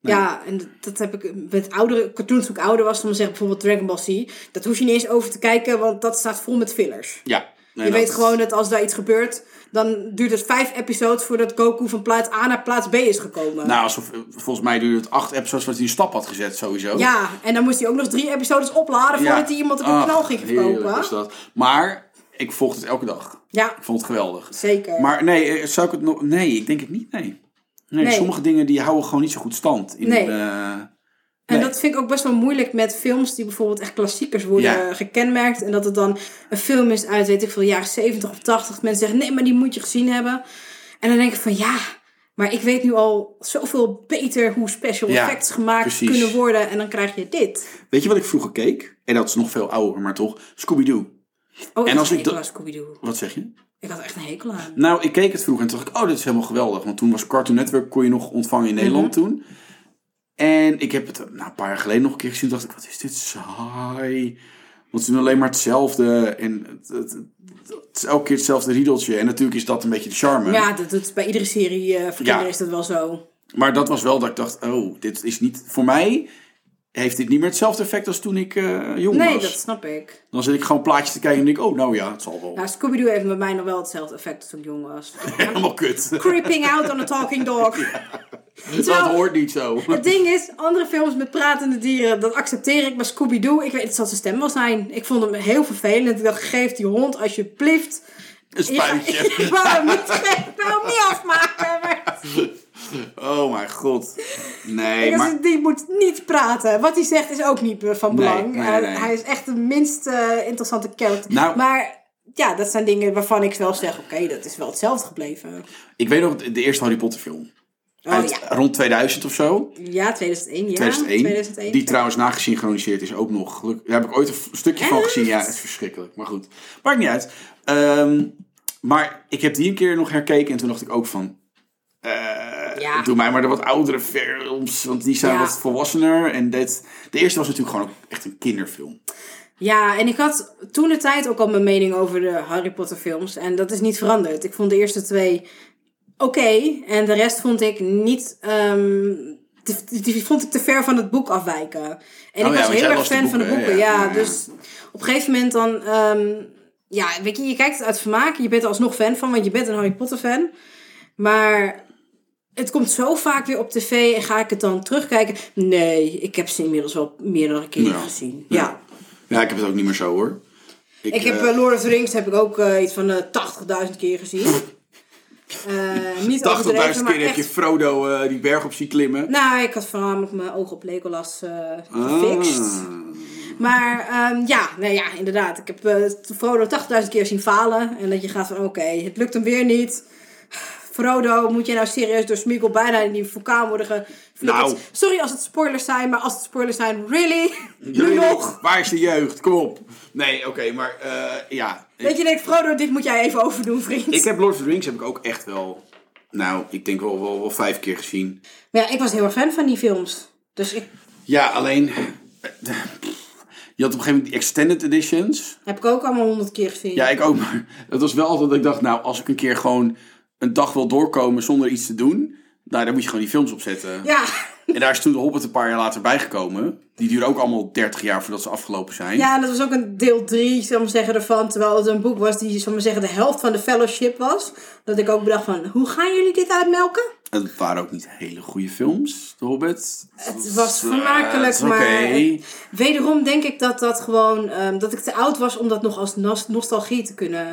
S2: Ja, en dat heb ik met oudere cartoons toen ik ouder was. Dan zeggen bijvoorbeeld Dragon Ball Z. Dat hoef je niet eens over te kijken, want dat staat vol met fillers.
S1: Ja. Nee,
S2: je
S1: dat-
S2: weet gewoon dat als daar iets gebeurt, dan duurt het vijf episodes voordat Goku van plaats A naar plaats B is gekomen.
S1: Nou, alsof, eh, volgens mij duurde het acht episodes wat hij een stap had gezet, sowieso.
S2: Ja, en dan moest hij ook nog drie episodes opladen
S1: Ja.
S2: voordat hij iemand op een
S1: Ach,
S2: knal ging
S1: heerlijk
S2: verkopen.
S1: was dat. Maar ik volgde het elke dag.
S2: Ja,
S1: Ik vond het geweldig.
S2: zeker.
S1: Maar nee, eh, zou ik het nog... Nee, ik denk het niet, nee. Nee,
S2: Nee.
S1: sommige dingen die houden gewoon niet zo goed stand. In,
S2: Nee.
S1: eh,
S2: En
S1: Nee.
S2: dat vind ik ook best wel moeilijk met films die bijvoorbeeld echt klassiekers worden
S1: Ja.
S2: eh, gekenmerkt. En dat het dan een film is uit, weet ik veel, jaren 70 of 80. Mensen zeggen, nee, maar die moet je gezien hebben. En dan denk ik van, ja, maar ik weet nu al zoveel beter hoe special
S1: Ja,
S2: effects gemaakt
S1: precies.
S2: kunnen worden. En dan krijg je dit.
S1: weet je wat ik vroeger keek? En dat is nog veel ouder, maar toch. Scooby-Doo.
S2: Oh,
S1: En
S2: en
S1: als
S2: als
S1: ik
S2: ik dat...
S1: dat-
S2: Scooby-Doo.
S1: Wat zeg je?
S2: Ik had er echt een hekel aan.
S1: Nou, ik keek het vroeger en toen dacht ik, oh, dit is helemaal geweldig. Want toen was Cartoon Network, kon je nog ontvangen in Nederland
S2: Mhm.
S1: toen. En ik heb het eh, nou, een paar jaar geleden nog een keer gezien. Toen dacht ik, wat is dit saai. Want ze doen alleen maar hetzelfde. En het, het- het- het is elke keer hetzelfde riedeltje. En natuurlijk is dat een beetje de charme.
S2: Ja, dat, dat is bij iedere serie eh
S1: Ja.
S2: voor kinderen is dat wel zo.
S1: Maar dat was wel dat ik dacht, oh, dit is niet... Voor mij heeft dit niet meer hetzelfde effect als toen ik eh, jong
S2: Nee,
S1: was.
S2: dat snap ik.
S1: Dan zit ik gewoon plaatjes te kijken en denk ik, oh, nou ja, het zal wel.
S2: Nou, Scooby-Doo heeft bij mij nog wel hetzelfde effect als toen ik jong was.
S1: Helemaal kut.
S2: Creeping out on a talking dog.
S1: Dat hoort niet zo.
S2: Het ding is, andere films met pratende dieren, dat accepteer ik. Maar Scooby-Doo, ik weet het zal zijn stem wel zijn. Ik vond hem heel vervelend. Ik dacht, geef die hond alsjeblieft.
S1: Een
S2: Ik ga-
S1: spuitje.
S2: Ik wou hem niet, ik wou hem niet afmaken. Maar
S1: Oh mijn god. Nee,
S2: ik
S1: maar...
S2: dacht, die moet niet praten. Wat hij zegt is ook niet eh, van
S1: Nee,
S2: belang.
S1: nee,
S2: Hij-
S1: nee.
S2: Hij is echt de minst eh, interessante character.
S1: Nou-
S2: maar ja, dat zijn dingen waarvan ik wel zeg, oké, dat is wel hetzelfde gebleven.
S1: Ik weet nog de eerste Harry Potter film.
S2: Oh
S1: Uit
S2: ja.
S1: rond 2000 of zo.
S2: Ja, 2001. Ja,
S1: 2001.
S2: 2001.
S1: Die trouwens nagesynchroniseerd is ook nog. Geluk- Daar heb ik ooit een f- stukje van
S2: Echt?
S1: gezien. Ja, het is verschrikkelijk. Maar goed, maakt niet uit. Ehm, maar ik heb die een keer nog herkeken en toen dacht ik ook van... eh,
S2: Ja.
S1: Doe mij maar de wat oudere films, want die zijn
S2: Ja.
S1: wat volwassener. En dit, de eerste was natuurlijk gewoon ook echt een kinderfilm.
S2: Ja, en ik had toen de tijd ook al mijn mening over de Harry Potter films. En dat is niet veranderd. Ik vond de eerste twee oké. en de rest vond ik niet. ehm, te- die, die vond ik te ver van het boek afwijken. En
S1: Oh ja,
S2: ik was
S1: want
S2: heel
S1: jij
S2: erg
S1: las de
S2: fan van de
S1: boeken, hè?
S2: boeken. Ja,
S1: Ja, ja.
S2: dus op een gegeven moment dan. ehm, ja, weet je, je kijkt het uit vermaak. Je bent er alsnog fan van, want je bent een Harry Potter fan. Maar het komt zo vaak weer op tv en ga ik het dan terugkijken? Nee, ik heb ze inmiddels wel meerdere keren
S1: Ja.
S2: gezien.
S1: Ja.
S2: ja.
S1: Ja, ik heb het ook niet meer zo hoor.
S2: Ik heb
S1: eh,
S2: eh, Lord of the Rings heb ik ook eh, iets van eh, 80.000 keer gezien. Eh niet
S1: 80.000
S2: overdreven, maar
S1: keer heb
S2: echt...
S1: je Frodo eh, die berg op zien klimmen.
S2: Nou, ik had voornamelijk mijn ogen op Legolas eh, gefixt.
S1: Ah.
S2: Maar ehm, ja, nee, ja, inderdaad. Ik heb eh, Frodo 80.000 keer zien falen. En dat je gaat van, oké, het lukt hem weer niet. Frodo, moet je nou serieus door Smeagol bijna in die vulkaan worden geflikkerd?
S1: Nou.
S2: Sorry als het spoilers zijn, maar als het spoilers zijn, really? Nu
S1: Jullie-
S2: nog?
S1: Waar is de jeugd? Kom op. Nee, oké, maar eh, ja.
S2: Dat je denkt, Frodo, dit moet jij even overdoen, vriend.
S1: Ik heb Lord of the Rings heb ik ook echt wel, nou, ik denk wel, wel, wel vijf keer gezien.
S2: Maar ja, ik was heel erg fan van die films. Dus ik,
S1: Ja, alleen, eh, je had op een gegeven moment die extended editions.
S2: heb ik ook allemaal honderd keer gezien.
S1: Ja, ik ook, maar het was wel altijd dat ik dacht, nou, als ik een keer gewoon een dag wil doorkomen zonder iets te doen, nou, dan moet je gewoon die films opzetten.
S2: ja.
S1: En daar is toen de Hobbit een paar jaar later bijgekomen. Die duren ook allemaal 30 jaar voordat ze afgelopen zijn.
S2: Ja, en dat was ook een deel 3, zal ik maar zeggen, ervan. Terwijl het een boek was die, zal ik maar zeggen, de helft van de fellowship was. Dat ik ook bedacht van, hoe gaan jullie dit uitmelken?
S1: En Het waren ook niet hele goede films, de Hobbit.
S2: Het was
S1: eh,
S2: vermakelijk,
S1: het is
S2: maar
S1: oké.
S2: wederom denk ik dat dat gewoon, ehm, dat ik te oud was om dat nog als nos- nostalgie te kunnen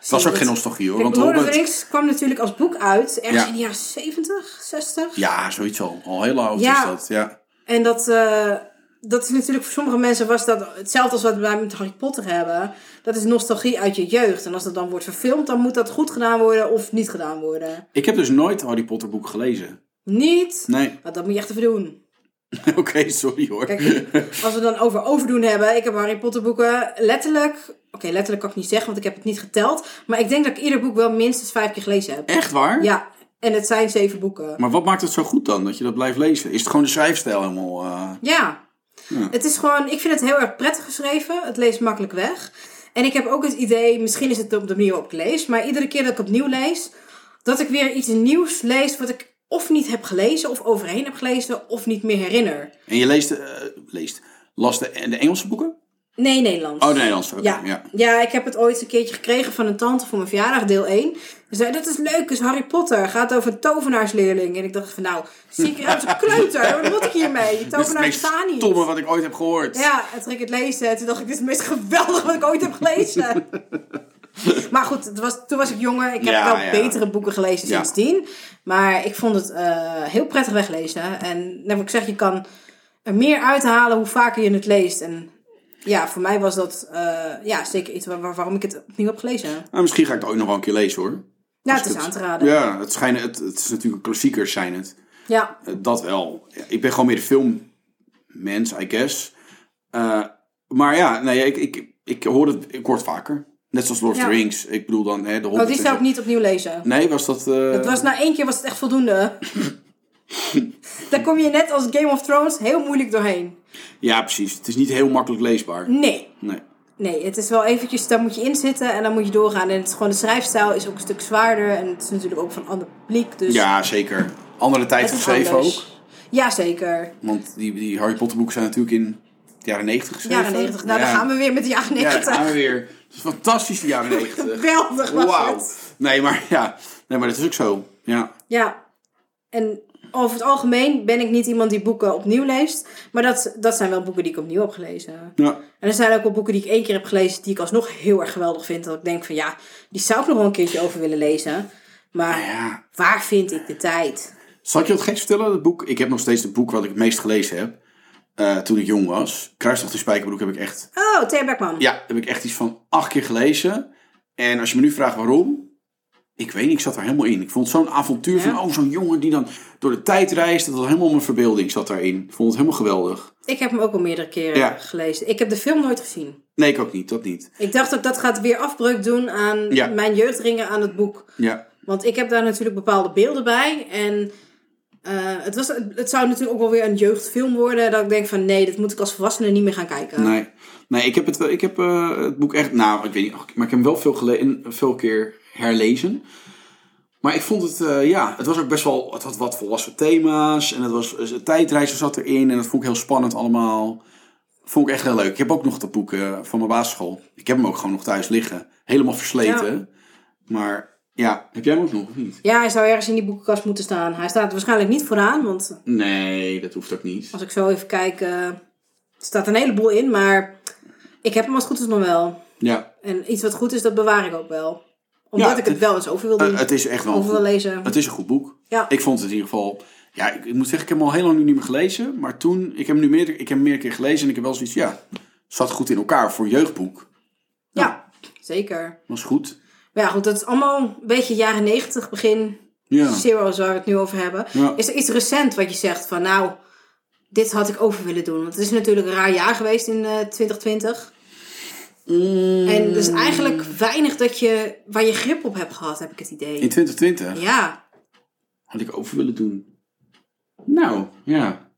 S1: Het was ook geen nostalgie hoor, want de
S2: Lord of the
S1: Hobbit...
S2: Rings kwam natuurlijk als boek uit, ergens
S1: Ja.
S2: in de jaren 70, 60.
S1: Ja, zoiets al. Al heel oud
S2: Ja.
S1: is dat, ja.
S2: En dat, eh, dat is natuurlijk voor sommige mensen was dat hetzelfde als wat wij met Harry Potter hebben. Dat is nostalgie uit je jeugd. En als dat dan wordt verfilmd, dan moet dat goed gedaan worden of niet gedaan worden.
S1: Ik heb dus nooit Harry Potter boek gelezen.
S2: Niet.
S1: Nee,
S2: Maar dat moet je echt even doen.
S1: oké, sorry hoor.
S2: Kijk, als we dan over overdoen hebben. Ik heb Harry Potter boeken letterlijk... Oké, letterlijk kan ik niet zeggen, want ik heb het niet geteld. Maar ik denk dat ik ieder boek wel minstens vijf keer gelezen heb.
S1: Echt waar?
S2: Ja, en het zijn zeven boeken.
S1: Maar wat maakt het zo goed dan, dat je dat blijft lezen? Is het gewoon de schrijfstijl helemaal... eh,
S2: Ja.
S1: Ja.
S2: Het is gewoon, ik vind het heel erg prettig geschreven. Het leest makkelijk weg. En ik heb ook het idee, misschien is het op de manier waarop ik lees, maar iedere keer dat ik opnieuw lees, dat ik weer iets nieuws lees wat ik of niet heb gelezen, of overheen heb gelezen, of niet meer herinner.
S1: En je leest, eh, leest las de, de Engelse boeken?
S2: Nee, Nederlands.
S1: Oh, de Nederlandse. oké,
S2: Ja.
S1: ja.
S2: Ja. ik heb het ooit een keertje gekregen van een tante voor mijn verjaardag, deel 1. Ze zei, dat is leuk, is Harry Potter. Gaat over een tovenaarsleerling. En ik dacht van, nou, zeker uit de kleuter. Wat moet ik hiermee?
S1: Dit is het
S2: Tovenaar
S1: meest
S2: bestaan niet.
S1: stomme wat ik ooit heb gehoord.
S2: Ja, en toen ging ik het lezen. Toen dacht ik, dit is het meest geweldig wat ik ooit heb gelezen. maar goed, het was, toen was ik jonger. Ik heb
S1: Ja,
S2: wel
S1: ja.
S2: betere boeken gelezen
S1: Ja.
S2: sindsdien. Maar ik vond het eh, heel prettig weglezen. En net wat ik zeg, je kan er meer uithalen hoe vaker je het leest. En ja, voor mij was dat eh, ja, zeker iets waar- waar- waarom ik het opnieuw heb gelezen.
S1: Nou, misschien ga ik het ooit nog wel een keer lezen hoor.
S2: Ja,
S1: Als
S2: het is
S1: ik
S2: aan te raden. Ja.
S1: Ja, het, schijnen, het, het is natuurlijk klassiekers zijn het. Eh, Dat wel. Ja, ik ben gewoon meer de filmmens, I guess. Eh, maar ja, nee, ik, ik, ik hoor het ik hoor het vaker. Net zoals Lord of
S2: Ja.
S1: the Rings. Ik bedoel dan hè, de Hobbit.
S2: Oh, die
S1: en
S2: zou
S1: zo.
S2: ik niet opnieuw lezen.
S1: Nee, was dat... eh,
S2: Het was na één keer was het echt voldoende. Daar kom je net als Game of Thrones heel moeilijk doorheen.
S1: Ja, precies. Het is niet heel makkelijk leesbaar.
S2: Nee.
S1: Nee.
S2: Nee, het is wel eventjes, daar moet je in zitten en dan moet je doorgaan. En het is gewoon, de schrijfstijl is ook een stuk zwaarder en het is natuurlijk ook van ander publiek. Dus
S1: Ja, zeker. Andere tijd
S2: het is
S1: geschreven
S2: anders.
S1: ook.
S2: Ja, zeker.
S1: Want die, die Harry Potter boeken zijn natuurlijk in de jaren negentig geschreven.
S2: Jaren 90. Nou, dan gaan we weer met de jaren
S1: Ja, daar
S2: 90.
S1: gaan we weer. Het is fantastisch, de jaren negentig.
S2: Geweldig was
S1: Wauw.
S2: het.
S1: Nee, maar ja. Nee, maar dat is ook zo. Ja.
S2: Ja. En over het algemeen ben ik niet iemand die boeken opnieuw leest. Maar dat, dat zijn wel boeken die ik opnieuw heb gelezen.
S1: ja.
S2: En er zijn ook wel boeken die ik één keer heb gelezen die ik alsnog heel erg geweldig vind. Dat ik denk van ja, die zou ik nog wel een keertje over willen lezen. Maar
S1: Ja.
S2: waar vind ik de tijd?
S1: Zal ik je wat geks vertellen? Dat boek, ik heb nog steeds het boek wat ik het meest gelezen heb. eh, toen ik jong was. Kruistocht de Spijkerbroek heb ik echt...
S2: Oh, Thea Beckman.
S1: Ja, heb ik echt iets van acht keer gelezen. En als je me nu vraagt waarom... Ik weet niet, ik zat er helemaal in. Ik vond het zo'n avontuur van...
S2: Ja.
S1: Oh, zo'n jongen die dan door de tijd reist. Dat was helemaal mijn verbeelding zat daarin. Ik vond het helemaal geweldig.
S2: Ik heb hem ook al meerdere keren
S1: Ja.
S2: gelezen. Ik heb de film nooit gezien.
S1: Nee, ik ook niet. Dat niet.
S2: Ik dacht ook dat gaat weer afbreuk doen aan
S1: Ja.
S2: mijn jeugdringen aan het boek.
S1: Ja.
S2: Want ik heb daar natuurlijk bepaalde beelden bij. En eh, het, was, het zou natuurlijk ook wel weer een jeugdfilm worden. Dat ik denk van nee, dat moet ik als volwassene niet meer gaan kijken.
S1: Nee. Nee, ik heb het, wel- ik heb, eh, het boek echt... Nou, ik weet niet. Maar ik heb hem wel veel, gele- en veel keer herlezen. Maar ik vond het... eh, ja, het was ook best wel... Het had wat volwassen thema's. En het was... eh, Tijdreizen zat erin. En dat vond ik heel spannend allemaal. Vond ik echt heel leuk. Ik heb ook nog dat boek eh, van mijn basisschool. Ik heb hem ook gewoon nog thuis liggen. Helemaal versleten. Maar ja, heb jij hem ook nog of niet?
S2: Ja, hij zou ergens in die boekenkast moeten staan. Hij staat er waarschijnlijk niet vooraan, want
S1: Nee, dat hoeft ook niet.
S2: als ik zo even kijk, eh, er staat een heleboel in. Maar ik heb hem als het goed is nog wel.
S1: Ja,
S2: En iets wat goed is, dat bewaar ik ook wel. Omdat
S1: Ja,
S2: ik het
S1: het-
S2: wel eens over wil doen.
S1: Eh, het is echt wel een
S2: Of wil
S1: goed-
S2: lezen.
S1: Het is een goed boek.
S2: Ja.
S1: Ik vond het in ieder geval. Ja, ik, ik moet zeggen, ik heb hem al heel lang niet meer gelezen. Maar toen, ik heb hem nu meer, ik heb hem meer keer gelezen en ik heb wel zoiets, ja, zat goed in elkaar voor een jeugdboek.
S2: ja, zeker.
S1: Was goed.
S2: Maar ja, goed, dat is allemaal een beetje jaren negentig begin.
S1: Ja.
S2: Zero's waar we het nu over hebben.
S1: Ja.
S2: Is er iets recent wat je zegt van nou, dit had ik over willen doen? Want het is natuurlijk een raar jaar geweest in eh, 2020.
S1: Mm.
S2: En er is
S1: Hmm.
S2: eigenlijk weinig dat je, waar je grip op hebt gehad, heb ik het idee.
S1: In 2020
S2: Ja,
S1: had ik over willen doen. Nou, ja.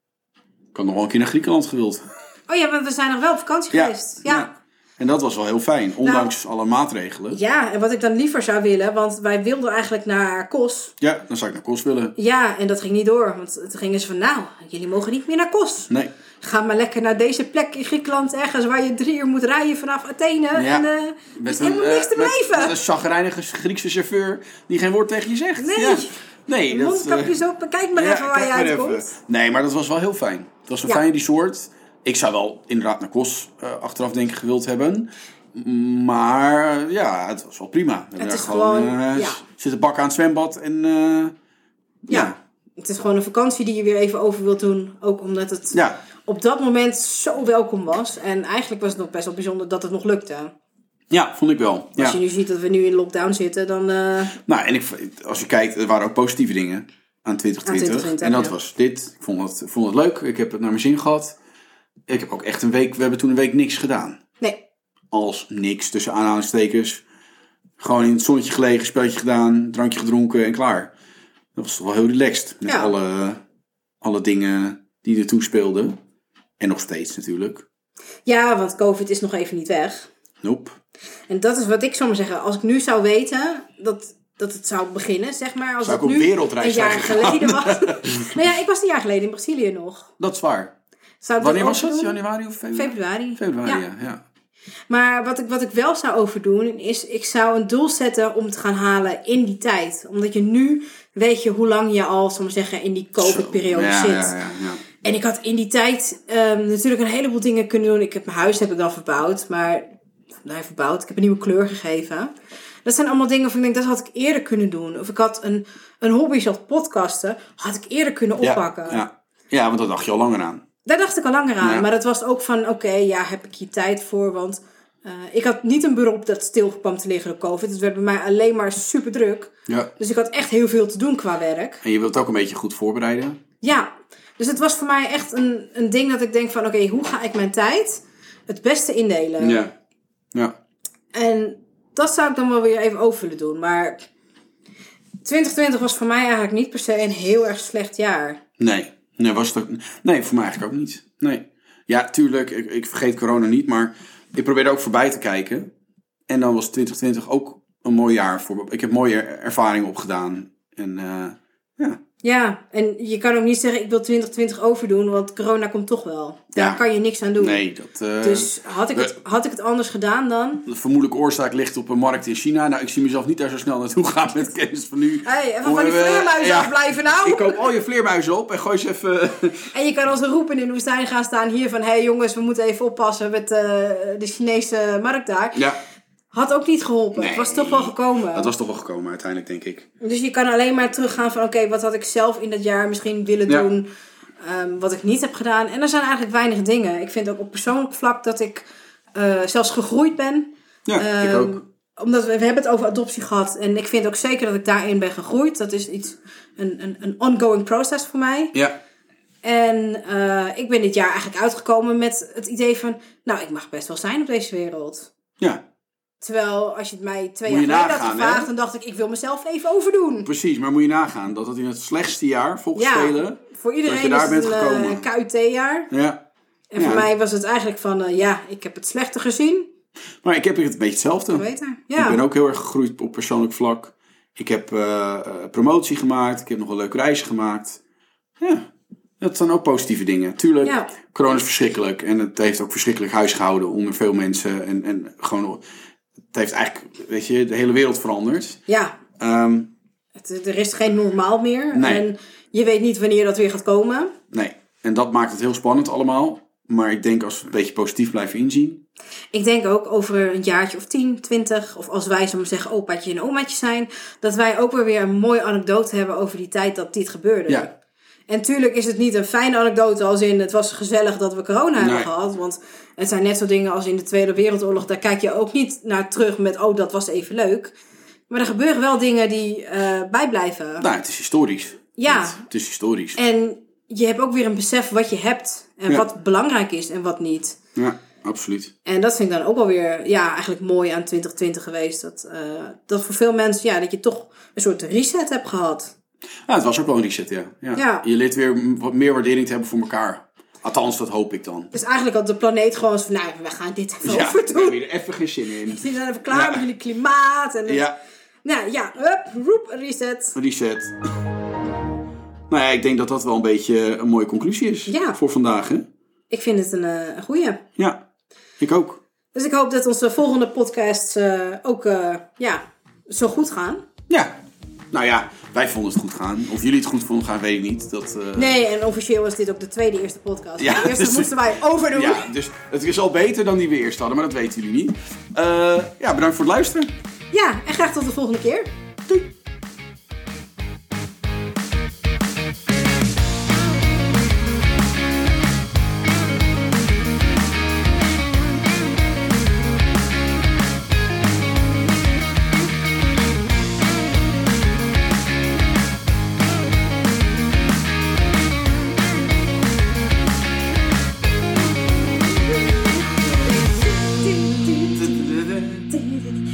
S1: Ik had nog wel een keer naar Griekenland gewild.
S2: Oh ja, want we zijn nog wel op vakantie
S1: Ja,
S2: geweest. Ja. Nou.
S1: En dat was wel heel fijn, ondanks alle maatregelen.
S2: ja, en wat ik dan liever zou willen, want wij wilden eigenlijk naar Kos.
S1: Ja, dan zou ik naar Kos willen.
S2: Ja, en dat ging niet door, want toen gingen ze van nou, jullie mogen niet meer naar Kos.
S1: Nee.
S2: Ga maar lekker naar deze plek in Griekenland, ergens waar je drie uur moet rijden vanaf Athene. En eh er is helemaal niks te
S1: eh, met-
S2: beleven.
S1: Met, een chagrijnige Griekse chauffeur die geen woord tegen je zegt.
S2: Nee.
S1: Ja. Nee, dat, eh,
S2: Mondkapjes op, kijk maar
S1: ja,
S2: even waar
S1: kijk
S2: je
S1: maar
S2: uitkomt.
S1: even. Nee, maar dat was wel heel fijn. Het was een
S2: Ja.
S1: fijne resort. Ik zou wel inderdaad naar Kos eh, achteraf denk ik gewild hebben. Maar ja, het was wel prima. We hebben
S2: is
S1: daar
S2: gewoon,
S1: eh,
S2: ja.
S1: Zit een bak aan het zwembad en... eh,
S2: Ja. Het is gewoon een vakantie die je weer even over wilt doen. Ook omdat het
S1: Ja.
S2: op dat moment zo welkom was. En eigenlijk was het nog best wel bijzonder dat het nog lukte.
S1: ja, vond ik wel. Ja.
S2: Als je nu ziet dat we nu in lockdown zitten, dan... eh,
S1: Nou, en ik, als je kijkt, er waren ook positieve dingen aan 2020.
S2: Aan 2020,
S1: en dat
S2: ja.
S1: was dit. Ik vond het, ik vond het leuk. Ik heb het naar mijn zin gehad. Ik heb ook echt een week, we hebben toen een week niks gedaan.
S2: nee,
S1: Als niks, tussen aanhalingstekens. Gewoon in het zonnetje gelegen, spelletje gedaan, drankje gedronken en klaar. Dat was toch wel heel relaxed. Met
S2: Ja.
S1: alle, alle dingen die er toespeelden. En nog steeds natuurlijk.
S2: Ja, want COVID is nog even niet weg.
S1: Nope.
S2: En dat is wat ik zou maar zeggen. Als ik nu zou weten dat, dat het zou beginnen, zeg maar. Als
S1: Zou
S2: het
S1: ik op
S2: nu
S1: wereldreis
S2: een
S1: zijn
S2: jaar
S1: gegaan?
S2: geleden was. nou ja, ik was een jaar geleden in Brazilië nog.
S1: Dat is waar.
S2: Zou ik dat
S1: Wanneer was
S2: ook
S1: dat?
S2: doen?
S1: Januari of februari?
S2: Februari.
S1: Februari,
S2: Ja.
S1: ja. ja.
S2: Maar wat ik, wat ik wel zou overdoen, is ik zou een doel zetten om te gaan halen in die tijd. Omdat je nu weet je hoe lang je al, zal ik maar zeggen, in die COVID-periode
S1: Zo. Ja,
S2: zit.
S1: ja, ja, ja.
S2: En ik had in die tijd ehm, natuurlijk een heleboel dingen kunnen doen. Ik heb mijn huis heb ik dan verbouwd, maar nou, verbouwd. Ik heb een nieuwe kleur gegeven. Dat zijn allemaal dingen waarvan ik denk, dat had ik eerder kunnen doen. Of ik had een, een hobby zoals podcasten, had ik eerder kunnen oppakken.
S1: Ja, ja. ja, want daar dacht je al langer aan.
S2: Daar dacht ik al langer aan.
S1: Ja.
S2: Maar dat was ook van, oké, ja, heb ik hier tijd voor? Want eh, ik had niet een bureau op dat stil kwam te liggen door COVID. Het werd bij mij alleen maar super druk.
S1: Ja.
S2: Dus ik had echt heel veel te doen qua werk.
S1: En je wilt ook een beetje goed voorbereiden.
S2: Ja, dus het was voor mij echt een, een ding dat ik denk van... oké, hoe ga ik mijn tijd het beste indelen?
S1: Ja. Ja.
S2: En dat zou ik dan wel weer even over willen doen. Maar 2020 was voor mij eigenlijk niet per se een heel erg slecht jaar.
S1: Nee. Nee, was het ook... nee, voor mij eigenlijk ook niet. Nee. Ja, tuurlijk, ik, ik vergeet corona niet, maar ik probeerde ook voorbij te kijken. En dan was 2020 ook een mooi jaar. Voor... me. Ik heb mooie er- ervaringen opgedaan. En eh, ja.
S2: Ja, en je kan ook niet zeggen ik wil 2020 overdoen... want corona komt toch wel. Daar
S1: Ja.
S2: kan je niks aan doen.
S1: Nee, dat... eh,
S2: Dus had ik, het, had ik het anders gedaan dan?
S1: De vermoedelijke oorzaak ligt op een markt in China. Nou, ik zie mezelf niet daar zo snel naartoe gaan met kennis van nu.
S2: Hé, hey, even
S1: Hoe
S2: van die
S1: hebben we-
S2: vleermuizen
S1: Ja.
S2: afblijven nou.
S1: Ik koop al je vleermuizen op en gooi ze even...
S2: En je kan als een roepen in de woestijn gaan staan hier van... hé hey jongens, we moeten even oppassen met eh, de Chinese markt daar.
S1: Ja.
S2: Had ook niet geholpen.
S1: Nee.
S2: Het was toch wel gekomen.
S1: Dat was toch wel gekomen uiteindelijk, denk ik.
S2: Dus je kan alleen maar teruggaan van... oké, wat had ik zelf in dat jaar misschien willen
S1: Ja.
S2: doen... ehm, wat ik niet heb gedaan. En er zijn eigenlijk weinig dingen. Ik vind ook op persoonlijk vlak dat ik eh, zelfs gegroeid ben.
S1: Ja, ik
S2: Ehm,
S1: ook.
S2: Omdat we, we hebben het over adoptie gehad. En ik vind ook zeker dat ik daarin ben gegroeid. Dat is iets, een, een, een ongoing process voor mij.
S1: Ja,
S2: En eh, ik ben dit jaar eigenlijk uitgekomen met het idee van... nou, ik mag best wel zijn op deze wereld.
S1: ja,
S2: Terwijl, als je het mij twee
S1: Moet je
S2: jaar geleden had
S1: nagaan,
S2: gevraagd...
S1: hè?
S2: dan dacht ik, ik wil mezelf even overdoen.
S1: precies. Maar moet je nagaan dat het in het slechtste jaar, volgens
S2: Ja,
S1: velen...
S2: voor iedereen
S1: je daar
S2: is het
S1: bent
S2: een eh,
S1: gekomen.
S2: KUT-jaar.
S1: Ja.
S2: En
S1: Ja.
S2: voor mij was het eigenlijk van... eh, ja, ik heb het slechter gezien.
S1: Maar ik heb het een beetje hetzelfde.
S2: Beter. Ja.
S1: Ik ben ook heel erg gegroeid op persoonlijk vlak. Ik heb eh, eh, promotie gemaakt. Ik heb nog een leuke reis gemaakt. Ja, dat zijn ook positieve dingen. Tuurlijk,
S2: Ja.
S1: corona is verschrikkelijk. En het heeft ook verschrikkelijk huisgehouden onder veel mensen. En, en gewoon, het heeft eigenlijk, weet je, de hele wereld veranderd.
S2: ja,
S1: Ehm,
S2: het, er is geen normaal meer.
S1: Nee.
S2: En je weet niet wanneer dat weer gaat komen.
S1: nee, en dat maakt het heel spannend allemaal. Maar ik denk als we het een beetje positief blijven inzien.
S2: Ik denk ook over een jaartje of 10, 20, of als wij zo maar zeggen opaatje en omaatje zijn, dat wij ook weer weer een mooie anekdote hebben over die tijd dat dit gebeurde.
S1: Ja.
S2: En tuurlijk is het niet een fijne anekdote als in het was gezellig dat we corona hebben
S1: Nee.
S2: gehad. Want het zijn net zo dingen als in de Tweede Wereldoorlog. Daar kijk je ook niet naar terug met oh dat was even leuk. Maar er gebeuren wel dingen die eh, bijblijven.
S1: Nou, het is historisch.
S2: Ja.
S1: Het, het is historisch.
S2: En je hebt ook weer een besef wat je hebt. En
S1: Ja.
S2: wat belangrijk is en wat niet.
S1: Ja, absoluut.
S2: En dat vind ik dan ook wel weer ja, eigenlijk mooi aan 2020 geweest. Dat, eh, dat voor veel mensen, ja, dat je toch een soort reset hebt gehad.
S1: Ja, het was ook wel een reset, ja. ja.
S2: Ja.
S1: Je leert weer m- wat meer waardering te hebben voor elkaar. Althans, dat hoop ik dan.
S2: Dus eigenlijk had de planeet gewoon zo van, nou, we gaan dit even
S1: Ja,
S2: over
S1: ik
S2: doen.
S1: heb hier even geen zin in.
S2: Jullie zijn even klaar met jullie klimaat. En
S1: Ja,
S2: Nou ja, hup, roep, reset.
S1: reset. Nou ja, ik denk dat dat wel een beetje een mooie conclusie is
S2: Ja.
S1: voor vandaag. Hè?
S2: Ik vind het een, eh, een goeie.
S1: Ja, ik ook.
S2: Dus ik hoop dat onze volgende podcasts eh, ook eh, ja, zo goed gaan.
S1: Ja. Nou ja, wij vonden het goed gaan. Of jullie het goed vonden gaan, weet ik niet. Dat, eh,
S2: Nee, en officieel was dit ook de tweede eerste podcast.
S1: Ja,
S2: de eerste
S1: dus-
S2: moesten wij overdoen.
S1: Ja, dus het is al beter dan die we eerst hadden, maar dat weten jullie niet. Eh, ja, bedankt voor het luisteren.
S2: ja, en graag tot de volgende keer.
S1: Doei!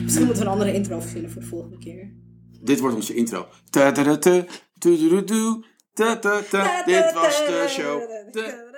S2: Misschien moeten we een andere intro verzinnen voor de volgende keer.
S1: Dit wordt onze intro. Ta-ta-ta-ta, tu-tu-tu-tu, ta-ta-ta. Dit was de show. Ta-